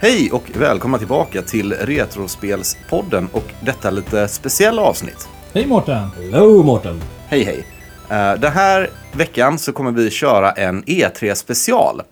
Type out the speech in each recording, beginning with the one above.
Hej och välkomna tillbaka till Retrospelspodden och detta lite speciella avsnitt. Hej Mårten! Hello Mårten! Hej hej! Eh, Den här veckan så kommer vi köra en E3 special.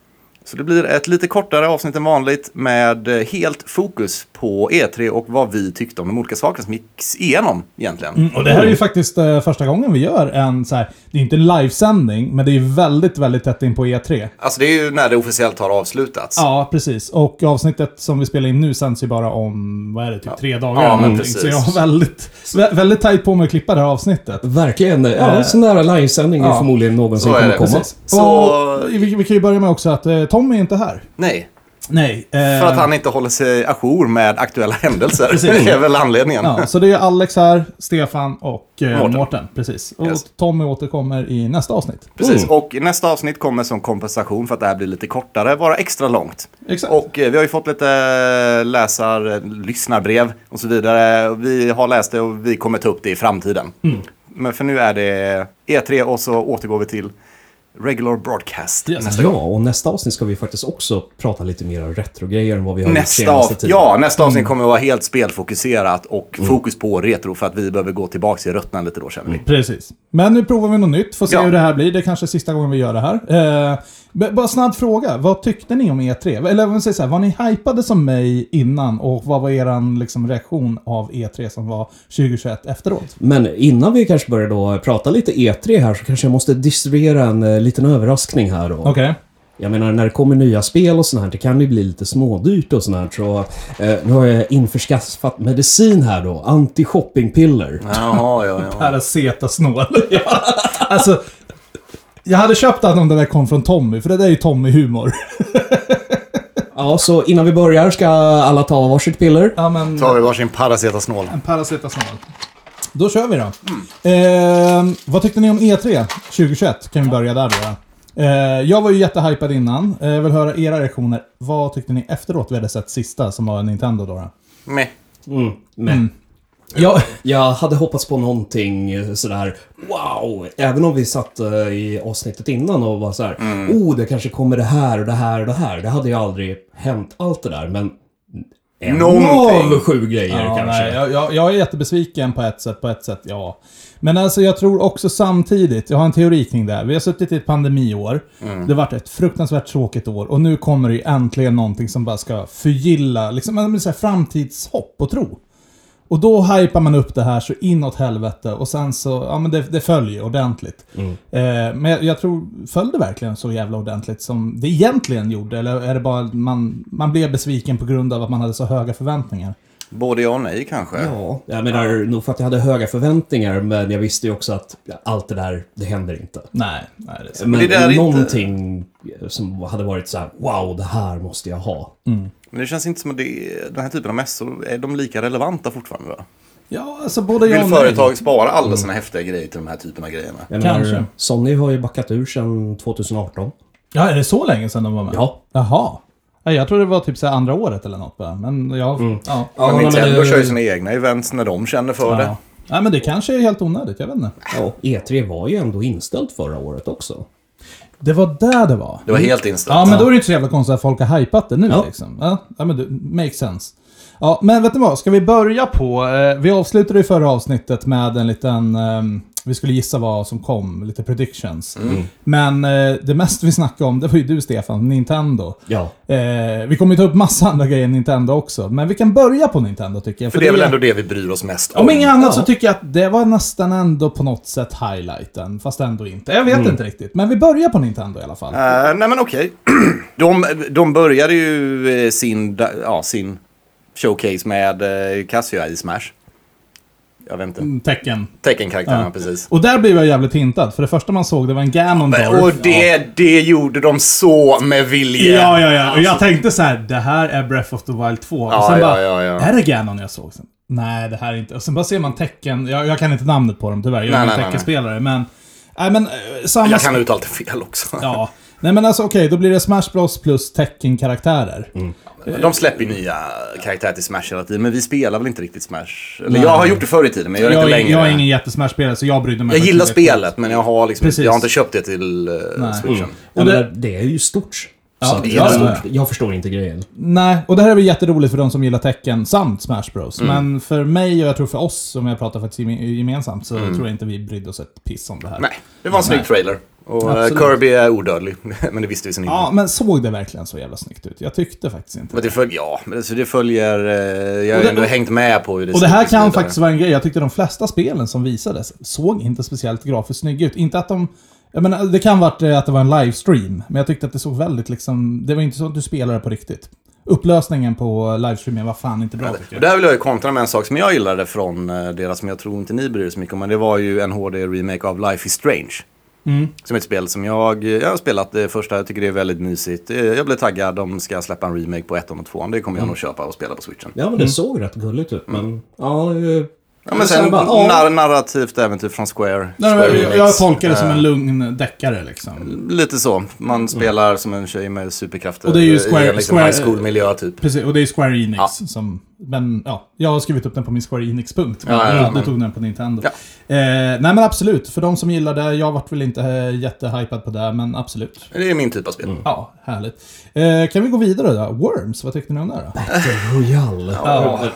Så det blir ett lite kortare avsnitt än vanligt med eh, helt fokus på E3 och vad vi tyckte om de olika sakerna som gick igenom egentligen. Mm, och det här är ju faktiskt eh, första gången vi gör en så här, det är ju inte en livesändning, men det är ju väldigt, väldigt tätt in på E E3. Alltså det är ju när det officiellt har avslutats. Ja, precis. Och avsnittet som vi spelar in nu sänds ju bara om, vad är det, typ tre dagar Ja, eller men någonting. precis. Så jag har väldigt, vä- väldigt tajt på mig att klippa det här avsnittet. Verkligen! Ja. Så nära livesändning vi förmodligen någonsin Så är kommer det. komma. Precis. Så- Och vi, vi kan ju börja med också att eh, Tommy är inte här. Nej, Nej. Eh, för att han inte håller sig ajour med aktuella händelser. Precis. Det är väl anledningen. Ja, så det är Alex här, Stefan och eh, Mårten. Mårten. Precis. Och Yes. Tommy återkommer i nästa avsnitt. Precis, Mm. och nästa avsnitt kommer som kompensation för att det här blir lite kortare, vara extra långt. Exakt. Och eh, vi har ju fått lite eh, läsar, lyssnarbrev och så vidare. Vi har läst det och vi kommer ta upp det i framtiden. Mm. Men för nu är det E3 och så återgår vi till regular broadcast. Yes. Nästa, Ja, och nästa avsnitt ska vi faktiskt också prata lite mer om retrogrejer än vad vi har nästa, gjort senaste av, tiden. Mm. ja, nästa avsnitt kommer att vara helt spelfokuserat och fokus på retro för att vi behöver gå tillbaka till rötterna lite då känner vi. Precis. Men nu provar vi något nytt, får se Ja. hur det här blir. Det är kanske är sista gången vi gör det här. Eh, b- bara snabb fråga, vad tyckte ni om E3? Eller om vi säger så här, var ni hypade som mig innan och vad var er liksom, reaktion av E3 som var 2021 efteråt? Men innan vi kanske börjar då prata lite E3 här så kanske jag måste distribuera en eh, liten överraskning här då. Okej. Jag menar när det kommer nya spel och sånt här, det kan ju bli lite smådyrt och sånt här. Så eh, nu har jag införskaffat medicin här då, anti-shoppingpiller. Jaha, ja, ja. Paracetasnål. Ja. alltså, jag hade köpt den om den där kom från Tommy, för det där är ju Tommy-humor. Ja, så innan vi börjar ska alla ta varsitt piller. ja, men... Tar vi varsin paracetasnål. Mm. En paracetasnål. Då kör vi då. Eh, vad tyckte ni om E3 2021? Kan vi börja där då. Eh, jag var ju jättehypad innan. Eh, jag vill höra era reaktioner. Vad tyckte ni efteråt vi hade sett sista som var Nintendo då? då? Meh. Mm, men. Jag, jag hade hoppats på någonting eh, sådär wow. Även om vi satt eh, i avsnittet innan och var såhär Mm. oh det kanske kommer det här och det här och det här. Det hade ju aldrig hänt allt det där men en Någonting. av sju grejer Ja, kanske. nej, jag, jag, jag är jättebesviken på ett sätt, på ett sätt ja. Men alltså jag tror också samtidigt, jag har en teori kring det här. Vi har suttit i ett pandemiår. Det har varit ett fruktansvärt tråkigt år och nu kommer det ju äntligen någonting som bara ska förgilla, liksom man vill säga framtidshopp och tro. Och då hypar man upp det här så inåt helvete och sen så, ja men det, det följer ordentligt. Eh, men jag, jag tror, föll det verkligen så jävla ordentligt som det egentligen gjorde? Eller är det bara att man, man blev besviken på grund av att man hade så höga förväntningar? Både ja och nej kanske. Ja, jag menar nog för att jag hade höga förväntningar men jag visste ju också att allt det där, det händer inte. Nej, nej det är så. Men det där är inte- någonting som hade varit så här: wow det här måste jag ha. Men det känns inte som att det, den här typen av mässor, är de lika relevanta fortfarande? Då? Ja, alltså både jag Vill och företag spara alla sina häftiga grejer till de här typen av grejerna? Jag Kanske. menar, Sony har ju backat ur sedan 2018. Ja, är det så länge sedan de var med? Ja. Jaha. Ja, Jag tror det var typ så här andra året eller något bara. Men jag... Ja. men Ja, nej, men Nintendo det- kör ju sina egna events när de känner för Mm. det. ja. Nej, men det kanske är helt onödigt. Jag vet inte. Ja, E3 E var ju ändå inställt förra året också. Det var där det var. Det var helt inställt. Mm. Ja, men då är det inte så jävla konstigt att folk har hypat det nu Ja. liksom. Ja, ja men det makes sense. Ja, men vet ni vad? Ska vi börja på... Eh, vi avslutade ju förra avsnittet med en liten... ehm, vi skulle gissa vad som kom, lite predictions. Mm. Men eh, det mest vi snackade om, det var ju du Stefan, Nintendo. Ja. Eh, vi kommer ju ta upp massa andra grejer än Nintendo också, men vi kan börja på Nintendo tycker jag. För det är väl ändå det vi bryr oss mest om. Om inget annat Ja. så tycker jag att det var nästan ändå på något sätt highlighten, fast ändå inte. Jag vet Mm. inte riktigt, men vi börjar på Nintendo i alla fall. Eh, nej men okej. de, de började ju eh, sin, da- ja, sin showcase med eh, Cassia i Smash. Jag vet inte. Tecken. Tecken-karaktärerna, Mm. Ja. precis. Och där blev jag jävligt hintad, för det första man såg det var en Ganondorf. Och det, det gjorde de så med vilja. Ja, ja, ja. Och jag tänkte så här: det här är Breath of the Wild 2. Och Alltså- Ja, sen ja, bara, ja, ja. är det Ganon jag såg? Sen, nej, det här är inte... Och sen bara ser man tecken. Jag, jag kan inte namnet på dem tyvärr, jag Nej, nej, är ingen nej, nej. teckenspelare. Men, nej men, eh, samma Jag kan uttala det fel också. Ja. Nej men alltså okej, då blir det Smash Bros plus tecken-karaktärer. Mm. Eh, De släpper ju nya karaktärer till Smash hela tiden, men vi spelar väl inte riktigt Smash? Eller jag har gjort det förr i tiden, men jag gör det inte Jag, är- längre. jag är ingen jättesmash-spelare så jag brydde mig Jag faktiskt gillar inte riktigt. spelet, men jag har, liksom, Precis. Mm. jag har inte köpt det till eh, switchen. Jag det- menar, det är ju stort. så att det är jag, stort. jag förstår inte grejen. Nej, och det här är väl jätteroligt för de som gillar tecken samt Smash Bros. Mm. Men för mig och jag tror för oss, som jag pratar faktiskt geme- gemensamt, så tror jag inte vi brydde oss ett piss om det här. Mm. Nej, det var en snygg trailer. Och eh, Absolut. Kirby är odödlig, men det visste vi sen innan. Ja, men såg det verkligen så jävla snyggt ut? Jag tyckte faktiskt inte Men det följer, ja, men alltså det följer, eh, jag har Och det- ändå hängt med på hur det Och det ser här ut och så kan vidare. faktiskt vara en grej. Jag tyckte de flesta spelen som visades såg inte speciellt grafiskt snygga ut. Inte att de... Jag menar, det kan vara att det var en livestream, men jag tyckte att det såg väldigt liksom... Det var inte så att du spelade på riktigt. Upplösningen på livestreamen var fan inte bra tycker Och jag. där vill jag ju kontra med en sak som jag gillade från eh, deras, som jag tror inte ni bryr er så mycket om, men det var ju en HD-remake av Life is Strange. Mm. Som är ett spel som jag, jag har spelat det första, jag tycker det är väldigt mysigt. Eh, Jag blev taggad, de ska släppa en remake på ettan och tvåan, det kommer jag Mm. nog köpa och spela på switchen. Ja, men det såg rätt gulligt ut, Mm. men... Ja, eh, Ja, men så sen bara, ja. nar- narrativt äventyr från Square. Nej, Square men jag, jag Enix. tolkar det som Eh, en lugn deckare liksom. Lite så, man spelar som en tjej med superkrafter Och det är ju eh, i Square- en liksom Square- high school-miljö typ. Precis, och det är Square Enix Ja. som... Men ja, jag har skrivit upp den på min Square Enix-punkt. men Ja, ja, ja, du, du men- tog den på Nintendo. Ja. Eh, nej men absolut, för de som gillar det. Jag vart väl inte eh, jättehypad på det, men absolut. Det är min typ av spel. Ja, härligt. Eh, kan vi gå vidare då? Worms, vad tyckte ni om det då? Battle Royale. Ja. Ja.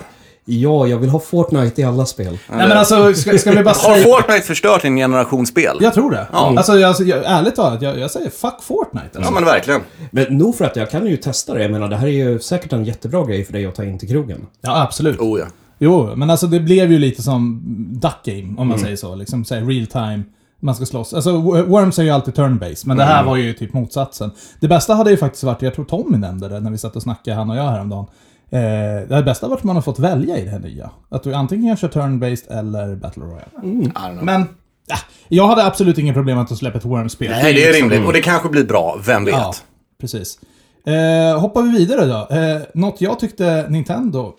ja, jag vill ha Fortnite i alla spel. Nej men alltså, ska, ska vi bara Har säga... Fortnite förstört en generation spel? Jag tror det. Alltså, jag, jag, ärligt talat, jag, jag säger fuck Fortnite. Ja, Alltså. men verkligen. Men nog för att jag kan ju testa det. Jag menar, det här är ju säkert en jättebra grej för dig att ta in till krogen. Ja, absolut. Oh ja. Jo, men alltså det blev ju lite som Duck Game, om man Mm. säger så. Liksom så här, real time, man ska slåss. Alltså, Wo- Worms är ju alltid turn-based, men det Mm. här var ju typ motsatsen. Det bästa hade ju faktiskt varit, jag tror Tommy nämnde det när vi satt och snackade, han och jag häromdagen. Eh, det här bästa hade varit att man har fått välja i det här nya. Att du antingen kör turn-based eller Battle Royale. Men, ja, jag hade absolut inget problem att släppa ett Worms-spel. Nej, det är liksom- rimligt. Och det kanske blir bra, vem vet? Ja, precis. Eh, hoppar vi vidare då. Eh, något jag tyckte Nintendo...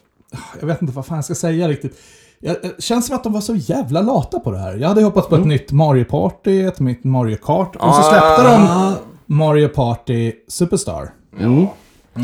Jag vet inte vad fan jag ska säga riktigt. Jag, jag- känns som att de var så jävla lata på det här. Jag hade ju hoppats på Mm. ett nytt Mario Party, ett nytt Mario Kart. Och Ah. så släppte de Mario Party Superstar. Mm.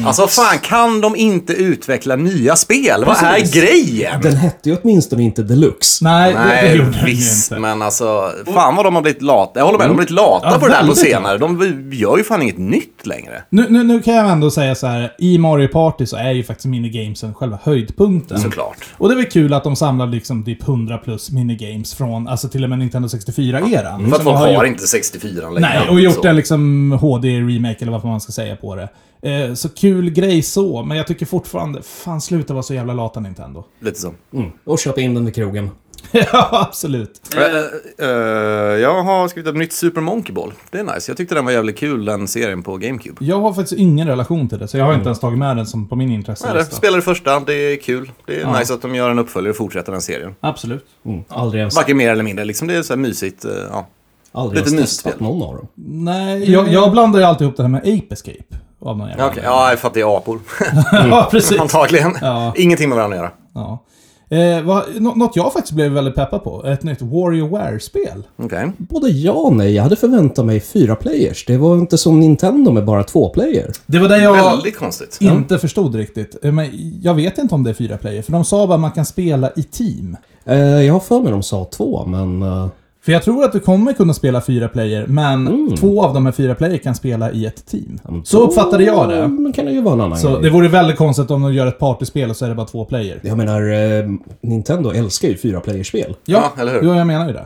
Alltså fan, kan de inte utveckla nya spel? Vad är Precis. grejen? Den hette ju åtminstone inte Deluxe. Nej, det, det Nej, gjorde de ju visst. inte. Mm. Men alltså, fan vad de har blivit lata. Jag håller med, de har blivit lata Ja, på det där på väldigt senare. De gör ju fan inget nytt längre. Nu, nu, nu kan jag ändå säga så här, i Mario Party så är ju faktiskt minigamesen själva höjdpunkten. Såklart. Och det är väl kul att de samlar liksom typ 100 plus minigames från, alltså till och med Nintendo 64-eran. Mm. För att Som folk har gjort- har inte 64 längre. Nej, och gjort Så. en liksom HD-remake eller vad man ska säga på det. Eh, så kul grej så, men jag tycker fortfarande, fan sluta vara så jävla lata Nintendo. Lite så. Och köpa in den vid krogen. ja, absolut. Eh, eh, jag har skrivit upp nytt Super Monkey Ball. Det är nice. Jag tyckte den var jävligt kul, den serien på GameCube. Jag har faktiskt ingen relation till det, så jag har inte ens tagit med den som på min Mm. Nej, det- intresselista. Spelar det första, det är kul. Det är nice att de gör en uppföljare och fortsätter den serien. Absolut. Mm. Aldrig Alltså- ens, Varken mer eller mindre, liksom det är så här mysigt. eh, Ja. aldrig lite ens testat mysspel. någon av dem. Nej, jag, jag blandar ju alltid ihop det här med Ape Escape. Av någon jävla Ja, okej. Mm. ja, för att det är apor. anledning. ja, precis. Antagligen. Ja. Ingenting med varandra att göra. Ja. Eh, vad, nå- något jag faktiskt blev väldigt peppad på, ett nytt WarioWare-spel. Okej. Både ja och nej. Jag hade förväntat mig fyra players. Det var inte som Nintendo med bara två player. Det var det jag... Väldigt konstigt. inte förstod riktigt. Eh, Men jag vet inte om det är fyra player, för de sa bara att man kan spela i team. Eh, jag har för mig de sa två, men... eh, För jag tror att du kommer kunna spela fyra player, men två av de här fyra player kan spela i ett team. Så uppfattade jag ja, det. Men kan det ju vara en annan Så grej. det vore väldigt konstigt om de gör ett partyspel och så är det bara två player. Jag menar, eh, Nintendo älskar ju fyra playerspel. Ja, eller hur? Jo, jag menar ju det.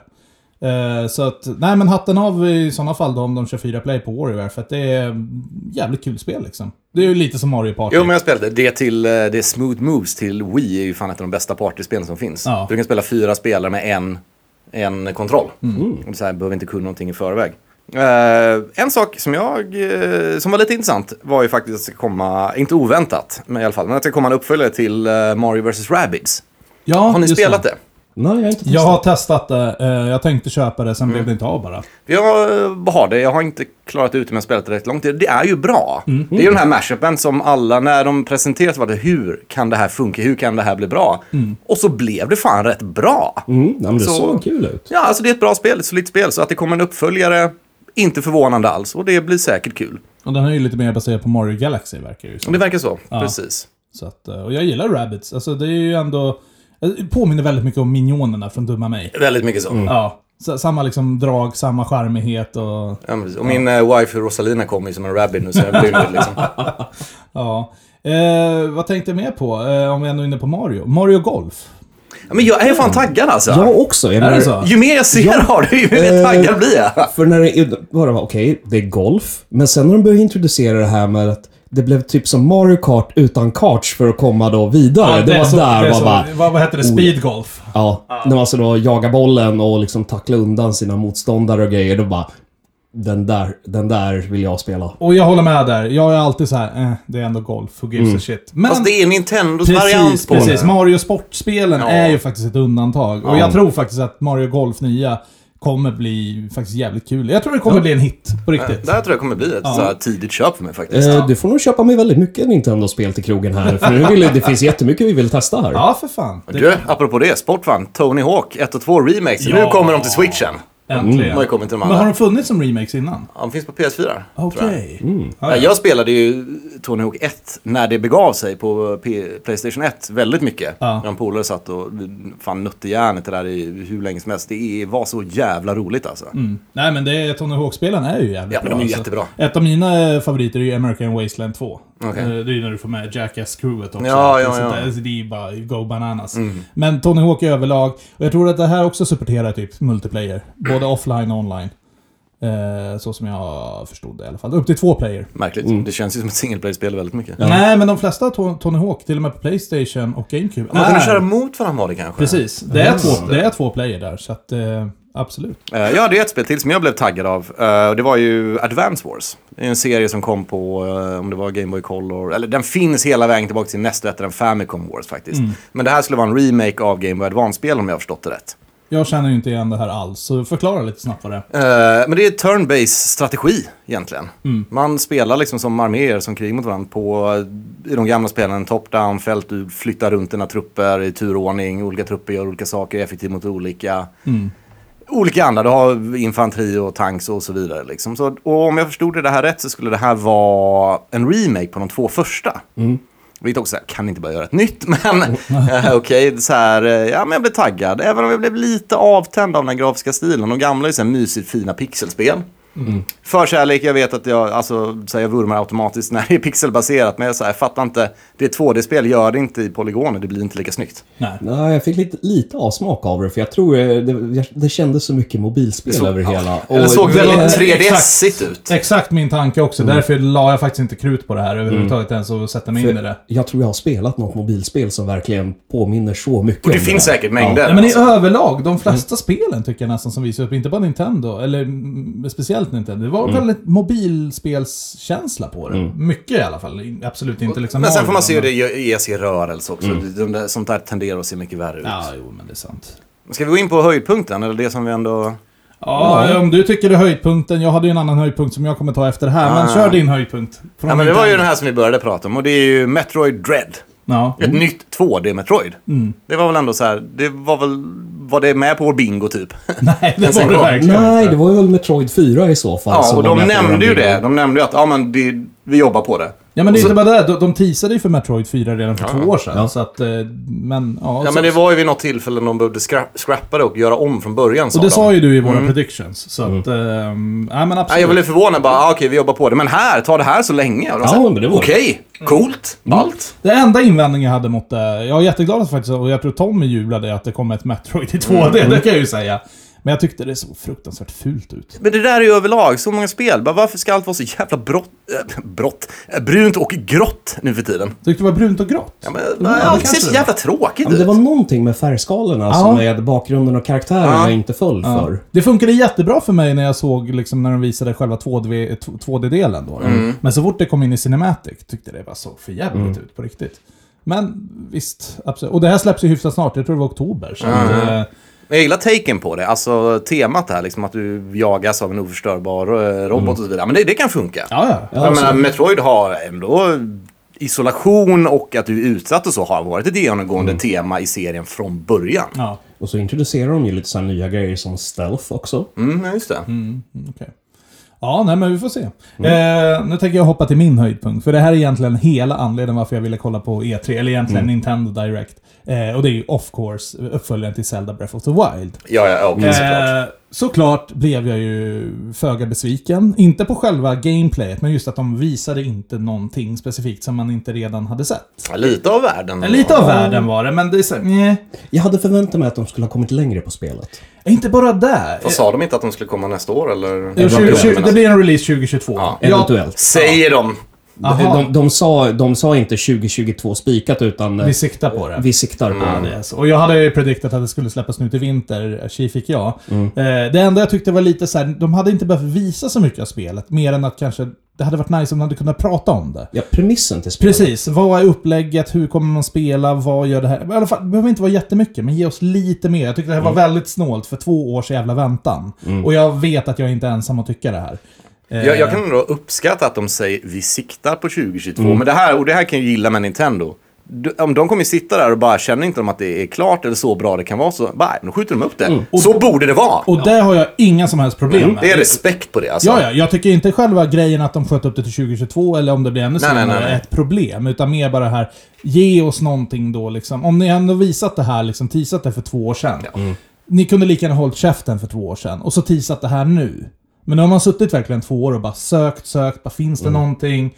Eh, Så att, nej men hatten av i sådana fall då om de kör fyra player på Warrior för att det är jävligt kul spel liksom. Det är ju lite som Mario Party. Jo, men jag spelade det till eh, det är Smooth Moves till Wii är ju fan ett av de bästa partyspelen som finns. Ja. Du kan spela fyra spelare med en, en kontroll. Mm. Och så här behöver inte kunna någonting i förväg. Eh, en sak som, jag, eh, som var lite intressant var ju faktiskt att det ska komma, inte oväntat, men i alla fall, men att det ska komma en uppföljare till eh, Mario vs. Rabbids. ja, Har ni just spelat det? det? Nej, jag har inte testat. Jag har testat det, eh, jag tänkte köpa det, sen Mm. blev det inte av bara. Jag eh, har det, jag har inte klarat ut det men spelat det rätt långt. Det- Det är ju bra. Det är ju den här mashupen som alla, när de presenteras var det hur kan det här funka, hur kan det här bli bra? Och så blev det fan rätt bra. Mm, nej, men det Så- såg kul ut. Ja, alltså det är ett bra spel, ett solitt spel. Så att det kommer en uppföljare, inte förvånande alls. Och det blir säkert kul. Och den är ju lite mer baserad på Mario Galaxy verkar det ju Och som. det verkar så, precis. Så att, eh, och jag gillar eh, Rabbids. Alltså det är ju ändå... Det påminner väldigt mycket om Minionerna från Dumma mig. Väldigt mycket så. Ja. sa- samma liksom drag, samma charmighet och... Ja, men precis. och min eh, wife Rosalina kom ju som en rabbit nu så jag blev liksom. Ja. Eh, vad tänkte jag mer på? Eh, om vi ändå är inne på Mario. Mario Golf. Ja, men jag är fan taggad alltså. Jag också, är det så? Ju mer jag ser av det, ju mer Eh, taggad blir jag. För när det var det, okej, det är golf. Men sen när de började introducera det här med att det blev typ som Mario Kart utan karts för att komma då vidare. det, var Oh. så- där Eh, det är man så- bara... Vad, vad heter det? Speed Golf. Ja, när man ska då jaga bollen och liksom tackla undan sina motståndare och grejer. Då bara... Den där, den där vill jag spela. Och jag håller med där. Jag är alltid så här, eh, det är ändå golf. Who gives Mm. a shit. Men... Fast det är Nintendos Precis, variant på precis. det. Mario Sportspelen Ja. är ju faktiskt ett undantag. Och Ja. jag tror faktiskt att Mario Golf nya kommer bli faktiskt jävligt kul. Jag tror det kommer bli en hit, på riktigt. Det här tror jag kommer bli ett så här tidigt köp för mig faktiskt. Eh, du får nog köpa mig väldigt mycket Nintendo-spel till krogen här. För nu vill, det finns jättemycket vi vill testa här. Ja, för fan. Det, Du, apropå det. Sport vann Tony Hawk 1 och 2 remakes. Nu Ja. kommer de till switchen. äntligen. De har ju kommit Mm. till de Men har andra. de funnits som remakes innan? Ja, De finns på PS4. Okej. tror jag. Mm. Ja, Jag spelade ju Tony Hawk 1 när det begav sig på P- Playstation 1 väldigt mycket. Ja. När en polare satt och fan nötte järnet det där i hur länge som helst. Det var så jävla roligt alltså. Mm. Nej, men det, Tony Hawk-spelen är ju jävligt Ja, men de är bra, alltså. jättebra. Ett av mina eh, favoriter är ju American Wasteland 2. Okej. Eh, Det är ju när du får med Jackass-crewet också. Ja, ja, Sånt ja. Mm. där. Alltså, Det är ju bara go bananas. Men Tony Hawk är överlag. Och jag tror att det här också supporterar typ multiplayer. Både offline och online. Eh, Så som jag förstod det i alla fall. Upp till två player. Märkligt. Mm. Det känns ju som ett single player-spel väldigt mycket. Nej, men de flesta To- Tony Hawk, till och med på Playstation och GameCube, Man kunde är- köra mot varandra var det kanske. Precis. Det är, två, det är två player där, så att... eh, Absolut. Eh, Jag hade ju ett spel till som jag blev taggad av. Eh, och Det var ju Advance Wars. Det är en serie som kom på, eh, om det var Game Boy Color, eller den finns hela vägen tillbaka till nästa efter den Famicom Wars faktiskt. Men det här skulle vara en remake av Game Boy Advance-spel om jag har förstått det rätt. Jag känner ju inte igen det här alls, så förklara lite snabbt vad det är. Eh, Men det är turn-based strategi egentligen. Man spelar liksom som arméer som krig mot varandra på, eh, i de gamla spelen, top-down, fält, du flyttar runt dina trupper i turordning, olika trupper gör olika saker, är effektiv mot olika. Olika andra, du har infanteri och tanks och så vidare. Liksom. Så, och om jag förstod det här rätt så skulle det här vara en remake på de två första. Vilket också, är så här, kan ni inte bara göra ett nytt? Men eh, okej, så här, eh, ja men jag blev taggad. Även om jag blev lite avtänd av den här grafiska stilen. De gamla är ju så här mysigt fina pixelspel. Mm. Förkärlek, jag vet att jag, alltså, så här, jag vurmar automatiskt när det är pixelbaserat. Men jag, så här, jag fattar inte, det är 2D-spel, gör det inte i polygoner, det blir inte lika snyggt. Nej. Nej, jag fick lite, lite avsmak av det, för jag tror eh, det, det kändes så mycket mobilspel över hela. Och Det såg det- väldigt exakt. 3D-igt ut. Exakt min tanke också. Mm. Därför la jag faktiskt inte krut på det här överhuvudtaget ens och sätta mig in i det. Jag tror jag har spelat något mobilspel som verkligen påminner så mycket. Det om finns här. säkert mängder. Nej, men i överlag, de Mm. flesta spelen tycker jag nästan som visar upp, inte bara Nintendo, eller mm, speciellt Nintendo. Det var Mm. väldigt mobilspelskänsla på det. Mycket i alla fall. Absolut inte liksom Men sen Mario, får man se hur men- det ges i rörelse också. De där, sånt där tenderar att se mycket värre ut. Ja, jo, men det är sant. Ska vi gå in på höjdpunkten, eller det som vi ändå... Ja, om du tycker det är höjdpunkten. Jag hade ju en annan höjdpunkt som jag kommer ta efter det här, men kör din höjdpunkt. Från Ah. Ja, men det var ju Nintendo. den här som vi började prata om och det är ju Metroid Dread. Ja. Ett nytt 2D-Metroid. Det var väl ändå så här, det var väl, var det med på vår bingo typ? Nej, det var det verkligen Nej, inte. det var ju väl Metroid 4 i så fall. ja, som och de var med på nämnde den ju det. bilden. De nämnde ju att, ja men det, vi jobbar på det. Ja, men det är inte bara det. De, de teasade ju för Metroid 4 redan för två år sedan. Ja. Så att, eh, men, ja, Ja, så, men det var ju vid något tillfälle de behövde skra- scrappa det och göra om från början sa och det de. sa ju du i våra predictions. Så att, ehm, nej men Nej, absolut. Mm. jag blev förvånad bara, ah, okej vi jobbar på det, men här, ta det här så länge. Och de Ja, sa, men det var- Okej, coolt, ballt. Det enda invändningen jag hade mot det, jag är jätteglad faktiskt, och jag tror Tommy jublade att det kom ett Metroid i 2D, det kan jag ju säga. Men jag tyckte det såg fruktansvärt fult ut. Men det där är ju överlag, så många spel. Bara, varför ska allt vara så jävla brott, äh, brott, äh, brunt och grått nu för tiden? Tyckte det var brunt och grått. Ja, men, Mm. det allt ser kanske så det jävla tråkigt Ja, men det ut. var någonting med färgskalorna, Ja. som med bakgrunden och karaktären Ja. jag inte föll för. Det funkade jättebra för mig när jag såg liksom, när de visade själva 2D 2D-delen. Då. Mm. Men så fort det kom in i Cinematic tyckte det bara såg för jävligt ut på riktigt. Men visst, absolut. Och det här släpps ju hyfsat snart, jag tror det var oktober. Så Mm. att, eh, Men Jag gillar taken på det, alltså temat här, liksom att du jagas av en oförstörbar eh, robot och så vidare. Men det, det kan funka. Mm. ja, ja. jag menar, Metroid har ändå isolation och att du är utsatt och så har varit ett genomgående Mm. tema i serien från början. ja. Och så introducerar de ju lite så här nya grejer som stealth också. Mm, ja, just det. Okej. Ja, nej men vi får se. Mm. Eh, nu tänker jag hoppa till min höjdpunkt, för det här är egentligen hela anledningen varför jag ville kolla på E3, eller egentligen Mm. Nintendo Direct. Eh, och det är ju of course uppföljaren till Zelda Breath of the Wild. Ja, ja, okej, såklart. Eh, Såklart blev jag ju föga besviken. Inte på själva gameplayet, men just att de visade inte någonting specifikt som man inte redan hade sett. Ja, Lite av världen. Lite av världen var det, men det är så, nej. Jag hade förväntat mig att de skulle ha kommit längre på spelet. Inte bara där. Vad sa de inte att de skulle komma nästa år eller? Jo, 20, 20, det blir en release 2022. Ja. Eventuellt. Säger de. De, Aha. de, de, sa, de sa inte 2022 spikat utan eh, Vi siktar på det. vi siktar på det. Yes. Och jag hade ju prediktat att det skulle släppas nu till vinter. Tji fick jag. Mm. Eh, det enda jag tyckte var lite så här, de hade inte behövt visa så mycket av spelet. Mer än att kanske, det hade varit nice om de hade kunnat prata om det. Ja, premissen till spelet. Precis, vad är upplägget, hur kommer man spela, vad gör det här? I alla fall, det behöver inte vara jättemycket, men ge oss lite mer. Jag tyckte det här Mm. var väldigt snålt för två års jävla väntan. Och jag vet att jag inte är ensam att tycka det här. Eh, Jag, jag kan ändå uppskatta att de säger vi siktar på 2022. Mm. Men det här, och det här kan jag gilla med Nintendo. Du- Om de kommer sitta där och bara känner inte de att det är klart eller så bra det kan vara så bara, då skjuter de upp det. Så borde det vara. Mm. Och det har jag inga som helst problem med. Det är respekt på det alltså. Ja, ja, jag tycker inte själva grejen att de sköt upp det till 2022 eller om det blir ännu Nej, nej, senare nej, är nej. ett problem. Utan mer bara det här, ge oss någonting då liksom. Om ni ändå visat det här, liksom teasat det för två år sedan. Mm. Ni kunde lika gärna hållit käften för två år sedan och så teasat det här nu. Men nu har man suttit verkligen två år och bara sökt, sökt, bara finns Mm. det någonting?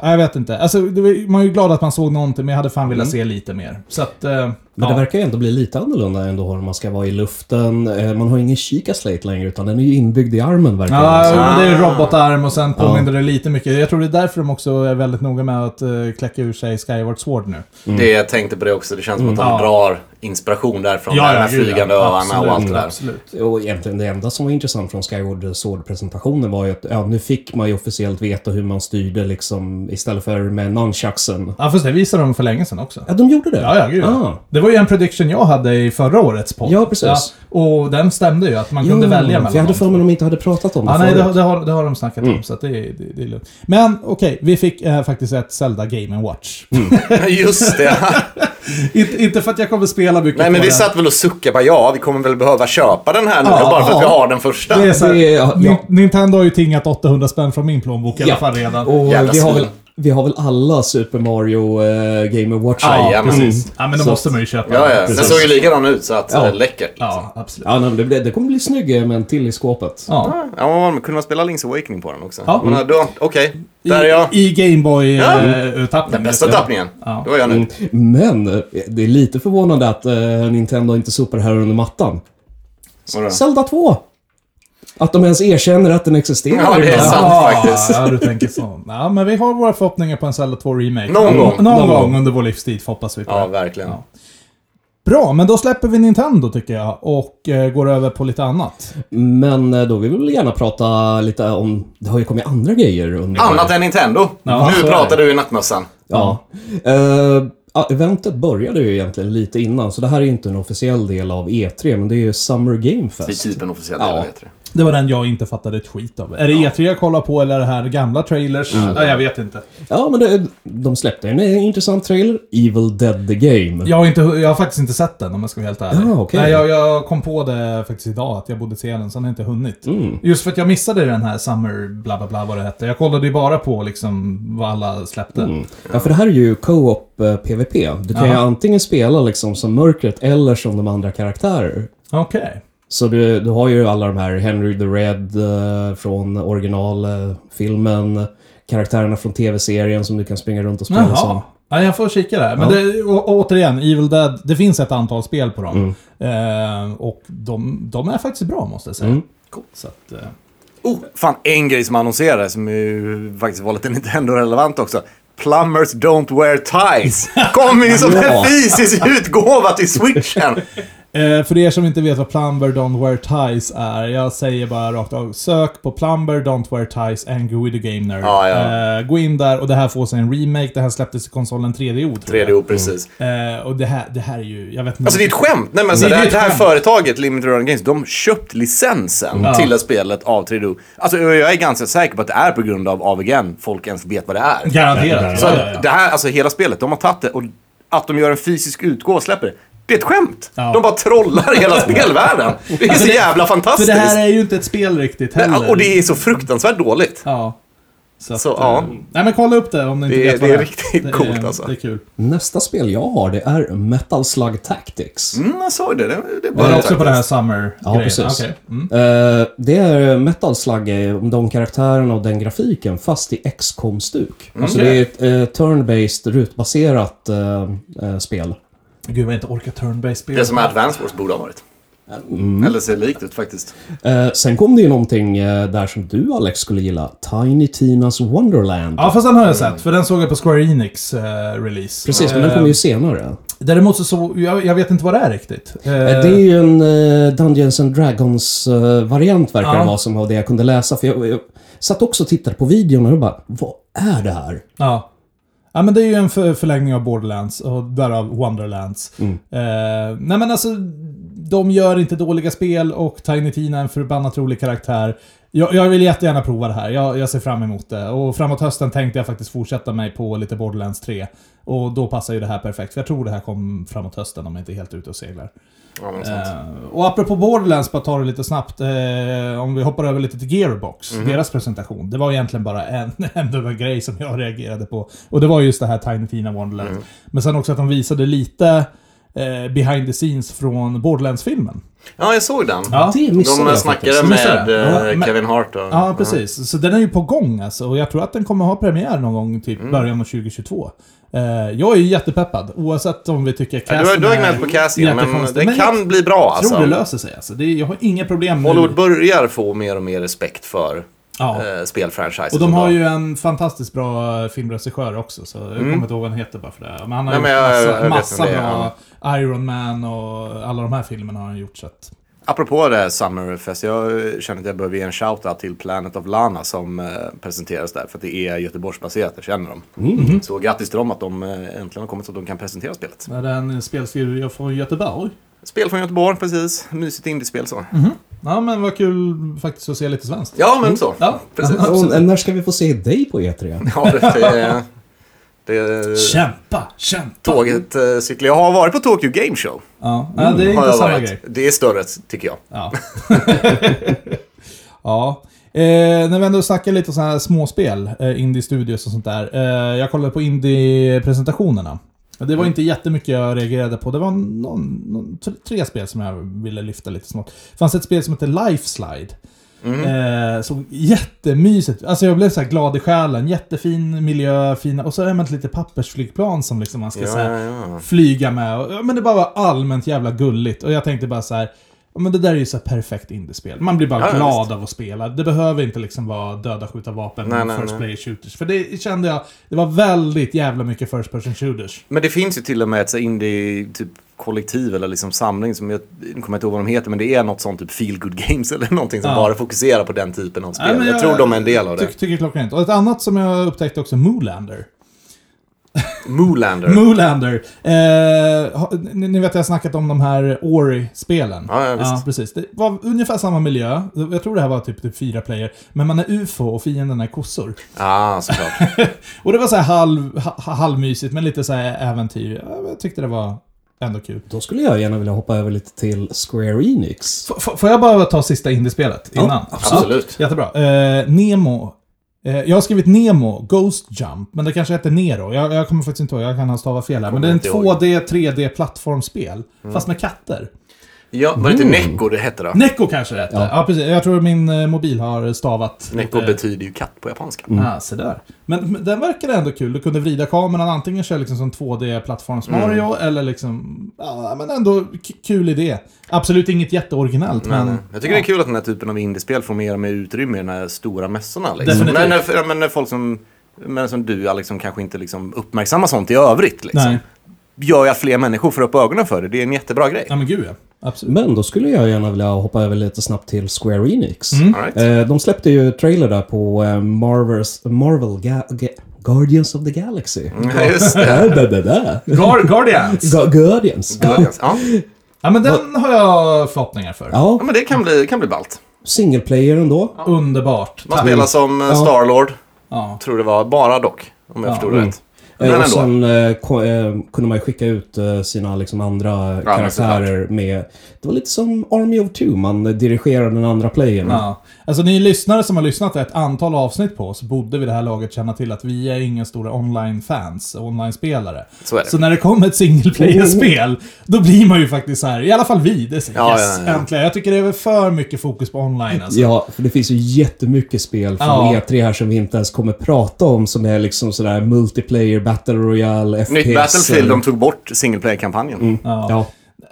Ah, Jag vet inte. Alltså, det var, man är ju glad att man såg någonting, men jag hade fan velat se lite mer. Så att... Eh, Mm. Men ja. det verkar ju ändå bli lite annorlunda ändå när man ska vara i luften. Eh, Man har ingen kikarsläte längre utan den är ju inbyggd i armen verkar Ja, det som. men det är ju robotarm och sen påminner det lite mycket. Jag tror det är därför de också är väldigt noga med att uh, kläcka ur sig Skyward Sword nu. Mm. Det, jag tänkte på det också. Det känns som att de Ja. drar inspiration därifrån. Ja, de här flygande öarna och allt det där. Absolut. Och egentligen det enda som var intressant från Skyward Sword-presentationen var ju att ja, nu fick man ju officiellt veta hur man styrde liksom istället för med nunchucksen. Ja, fast det visade de för länge sedan också. Ja, de gjorde det? Ja, ja, gud. Ah. Det var ju en prediction jag hade i förra årets podd. Ja, precis. och den stämde ju, att man Ja, kunde välja mellan för jag hade de för två. mig de inte hade pratat om det Ja, nej, det, förut. Mm. har- det, har, det har de snackat om, så att det, är- det, det är lugnt. Men okej, vi fick eh, faktiskt ett Zelda Game Watch. Mm. Just det. inte, inte för att jag kommer spela mycket Nej, men på vi den. satt väl och suckade. Bara, ja, vi kommer väl behöva köpa den här nu. Ja, bara för att vi ja. har den första. Det är så här, Det är- ja, Ni- ja. Nintendo har ju tingat 800 spänn från min plånbok i alla Ja. fall redan. Och Jävla vi har, svin. väl, vi har väl alla Super Mario eh, Game Watch? Ah, Ja, ja, Jajamän. precis. Ja, men då Så- måste man ju köpa. Ja, ja. Den Precis. såg ju likadan ut, så att Ja. eh, läckert. Ja, absolut. ja nej, men det, blir- det kommer bli snygg eh, med en till i skåpet. Ja. Ja, men kunde man spela Link's Awakening på den också? Ja. Men, eh, då- Okej, där är jag. I, i Ja. Mm. Gameboy-tappningen. Den bästa tappningen. Ja. Det var jag nu. Mm, Men eh, det är lite förvånande att eh, Nintendo inte sopar det här under mattan. Vadå? Zelda 2! Att de ens erkänner att den existerar. Ja, det är ibland. sant. Ja, faktiskt. ja, du tänker så. Ja, men vi har våra förhoppningar på en Zelda 2 Remake. Mm. Någon gång. Någon, Någon gång gång. under vår livstid hoppas vi på. Ja, det. verkligen. Ja. Bra, men då släpper vi Nintendo tycker jag och eh, går över på lite annat. Men eh, då vill vi väl gärna prata lite om... Det har ju kommit andra grejer under... Annat än Nintendo. Ja, så nu är pratar det. du i nattmössan. Ja. Eh, ja, eventet började ju egentligen lite innan, så det här är ju inte en officiell del av E3, men det är ju Summer Game Det är Fest. typ en officiell Ja. del, vet du. Det var den jag inte fattade ett skit av. Är det E3 jag kollar på eller är det här gamla trailers? Mm. Ja, jag vet inte. Ja, men det, de släppte en eh, intressant trailer, Evil Dead The Game. Jag har, inte, jag har faktiskt inte sett den om jag ska vara helt ärlig. Ja, Ah, okej. Nej, jag, jag kom på det faktiskt idag att jag borde se den, sen har jag inte hunnit. Mm. Just för att jag missade den här Summer bla bla bla vad det hette. Jag kollade ju bara på liksom vad alla släppte. Mm. Ja, för det här är ju co-op eh, PVP. Du kan ju Ja. antingen spela liksom som mörkret eller som de andra karaktärer. Okej. Så du, du har ju alla de här, Henry the Red eh, från originalfilmen, karaktärerna från tv-serien som du kan springa runt och spela som. Jaha. Ja, jag får kika där. Men Ja. det, å, återigen, Evil Dead. Det finns ett antal spel på dem. Mm. Eh, och de, de är faktiskt bra måste jag säga. Så att, eh, Oh, fan, en grej som annonserades som ju faktiskt var lite Nintendo-relevant också. Plumbers Don't Wear Ties kom ju som en Ja. fysisk utgåva till switchen. Eh, för er som inte vet vad Plumber Don't Wear Ties är, jag säger bara rakt av. Sök på Plumber Don't Wear Ties Angry With The Game Nerd. Ja, ja. Eh, gå in där och det här får sig en remake. Det här släpptes i konsolen 3DO. tror jag. 3DO, precis. Eh, och det här, det här är ju, jag vet inte. Alltså det är ett skämt. Nej, men så Nej, det, det är här, ett det här skämt. företaget, Limited Run Games, de köpt licensen Ja. till det spelet av 3DO. Alltså jag är ganska säker på att det är på grund av AVGN folk ens vet vad det är. Garanterat. Så Ja, ja, ja. det här, alltså hela spelet, de har tagit det och att de gör en fysisk utgåva och släpper det. Det är ett skämt! Ja. De bara trollar hela spelvärlden. Det är Alltså, så det- jävla För fantastiskt. det här är ju inte ett spel riktigt heller. Och det är så fruktansvärt dåligt. Ja. Så, att, Så, ja. eh, Nej men kolla upp det om ni inte Det är- vet vad det det är riktigt det coolt, är, alltså. Det är kul. Nästa spel jag har, det är Metal Slug Tactics. Mm, jag såg det. Det, det är bra Var det också faktiskt. på det här summer Ja, precis. Okej. Mm. Eh, det är Metal Slug, eh, de karaktärerna och den grafiken, fast i xcom stuk Mm, Så det är ett eh, turn-based, rutbaserat eh, eh, spel. Gud vad jag inte orkar turn-based spel. Det som Advance Wars borde ha varit. Mm. Eller ser likt ut faktiskt. Eh, sen kom det ju någonting eh, där som du, Alex, skulle gilla. Tiny Tinas Wonderland. Ja, fast den har jag sett, för den såg jag på Square Enix eh, release. Precis, men den Eh, kommer ju senare. Däremot så, så jag, jag vet inte vad det är riktigt. Eh, Eh, Det är ju en eh, Dungeons and Dragons-variant verkar Ja. det vara som av det jag kunde läsa. För jag, jag satt också och tittade på videon och jag bara, vad är det här? Ja. Ja, men det är ju en för, förlängning av Borderlands och därav Wonderlands. Eh, nej, men alltså, de gör inte dåliga spel och Tiny Tina är en förbannat rolig karaktär. Jag, jag vill jättegärna prova det här. Jag, jag ser fram emot det. Och framåt hösten tänkte jag faktiskt fortsätta mig på lite Borderlands 3. Och då passar ju det här perfekt. För jag tror det här kom framåt hösten om jag inte är helt ute och seglar. Ja, något sånt. Eh, och apropå Borderlands, bara ta det lite snabbt. Eh, om vi hoppar över lite till Gearbox, Mhm. deras presentation. Det var egentligen bara en enda grej som jag reagerade på. Och det var just det här Tiny Tina Wonderland. Mhm. Men sen också att de visade lite eh, behind the scenes från Borderlands-filmen. ja, jag såg den. Ja. Det missade De eh, jag faktiskt. snackade Missade med jag. Ja, eh, men- Kevin Hart. Och, Ja, precis. Så den är ju på gång alltså. Och jag tror att den kommer ha premiär någon gång, typ Mm. början av 2022. Eh, jag är ju jättepeppad, oavsett om vi tycker Ja, du har- casten du har är gnällt på Cassian, men jättekonstig. den jag kan bli bra tror det alltså. löser sig alltså. Det, är- jag har inga problem nu. Hollywood börjar få mer och mer respekt för Ja. eh, spelfranchises. Och de har idag. ju en fantastiskt bra eh, filmregissör också, så jag kommer inte ihåg vad han heter bara för det. Men han har Mm. Nej, men jag- jag gjort vet massa, massa vem det är, bra Iron Man och alla de här filmerna har han gjort. Så att, Apropå det här Summerfest, jag eh, känner att jag behöver ge en shout-out till Planet of Lana som eh, presenteras där. För att det är Göteborgsbaserat, jag känner dem. Mm. Så grattis till dem att de eh, äntligen har kommit så att de kan presentera spelet. är det en spelstudio från Göteborg? Spel från Göteborg, precis. Mysigt indiespel så. Mm. Ja, men vad kul faktiskt att se lite svenskt. Ja, men så. Mm. Ja. Precis. Och eh, när ska vi få se dig på E E3? Ja, det, det, det, Kämpa, kämpa! tåget eh, cyklar. Jag har varit på Tokyo Game Show. Ja, ja, det är Mm, Har inte jag samma varit. grej. Det är större, tycker jag. Ja. ja. Eh, när vi ändå snackar lite sådana här småspel, eh, indie-studios och sånt där. Eh, jag kollade på indie-presentationerna. Det var inte jättemycket jag reagerade på. Det var någon, någon, tre- tre spel som jag ville lyfta lite snart. Det fanns ett spel som heter Lifelide. Mm. Eh, såg jättemysigt Alltså jag blev så här glad i själen. Jättefin miljö, fina... Och så är man ett litet pappersflygplan som liksom man ska så här, ja. flyga med. Och, ja, men det bara var allmänt jävla gulligt. Och jag tänkte bara så här. ja, Men det där är ju så här perfekt indiespel. Man blir bara Ja, ja, glad visst. av att spela. Det behöver inte liksom vara döda, skjuta vapen, Nej, nej, first nej. player shooters. För det kände jag, det var väldigt jävla mycket first person shooters. Men det finns ju till och med ett så här indie typ kollektiv eller liksom samling som jag nu kommer jag inte ihåg vad de heter men det är något sånt typ feel good games eller någonting som Ja. bara fokuserar på den typen av spel. Nej, men jag, tror de är en del av det. Ty- tycker klockrent. Och ett annat som jag upptäckte också, Moolander. Moolander. Moolander. Eh, ha- ni, ni vet jag har snackat om de här Ori-spelen. Ja, ja, visst. precis. Det var ungefär samma miljö. Jag tror det här var typ, typ fyra player. Men man är UFO och fienden är kossor. Ja, ah, såklart. Och det var så här halv, ha, halvmysigt, men lite så här äventyr. Ja, Jag tyckte det var ändå kul. Då skulle jag gärna vilja hoppa över lite till Square Enix. F- f- får jag bara ta sista indiespelet Ja, innan? Absolut. Jättebra. Eh, Nemo. Eh, jag har skrivit Nemo, Ghost Jump, men det kanske heter Nero. Jag, jag kommer faktiskt inte ihåg, jag kan ha stavat fel här. Men det är en Kommer inte ihåg. Mm. 2D, 3D-plattformsspel. Fast med katter. Ja, var det inte Neko det hette då? Neko kanske det heter. Ja. precis. Jag tror min eh, mobil har stavat... Neko eh, betyder ju katt på japanska. Ah, se där. Men, men den verkade ändå kul. Du kunde vrida kameran, antingen köra liksom som 2D-plattforms-Mario eller liksom... Ja, men ändå k- kul idé. Absolut inget jätteoriginellt, Men, men... eh, jag tycker det är kul att den här typen av indiespel får mer och mer utrymme i de här stora mässorna. Liksom. Definitivt. Men, när, men när folk som, men som du, Alex, som kanske inte liksom uppmärksammar sånt i övrigt. Liksom, Nej. Gör ju att fler människor får upp ögonen för det. Det är en jättebra grej. Ja, men gud ja. Absolut. Men då skulle jag gärna vilja hoppa över lite snabbt till Square Enix. Mm. All right. Eh, de släppte ju trailer där på eh, Marvels, Marvel Ga- Ga- Guardians of the Galaxy. Mm, Ja, just det. Äh, bä, bä, bä. Guard- Guardians! Gu- Guardians. Guardians. Ja. Ja, men den har jag förhoppningar för. ja, Ja, men det kan bli, kan bli ballt. single player ändå. Underbart. Man Tack. spelar som eh, Starlord, Ja. tror det var, bara dock. Om jag Ja, förstod det Mm. rätt. Men och ändå. sen eh, ko- eh, kunde man ju skicka ut eh, sina liksom, andra karaktärer med... Det var lite som Army of Two, man eh, dirigerade den andra playern. Ja. Alltså ni lyssnare som har lyssnat ett antal avsnitt på oss borde vid det här laget känna till att vi är inga stora online-fans, online-spelare. Så är det. när det kommer ett single player-spel, då blir man ju faktiskt så här, i alla fall vi, det är så, Ja, yes, ja, ja. äntligen. Jag tycker det är väl för mycket fokus på online alltså. Ja, för det finns ju jättemycket spel från Ja. E3 här som vi inte ens kommer prata om som är liksom sådär multiplayer, battle royale, FPS. Nytt Battlefield, eller- de tog bort single player-kampanjen. eh, Mm. Ja.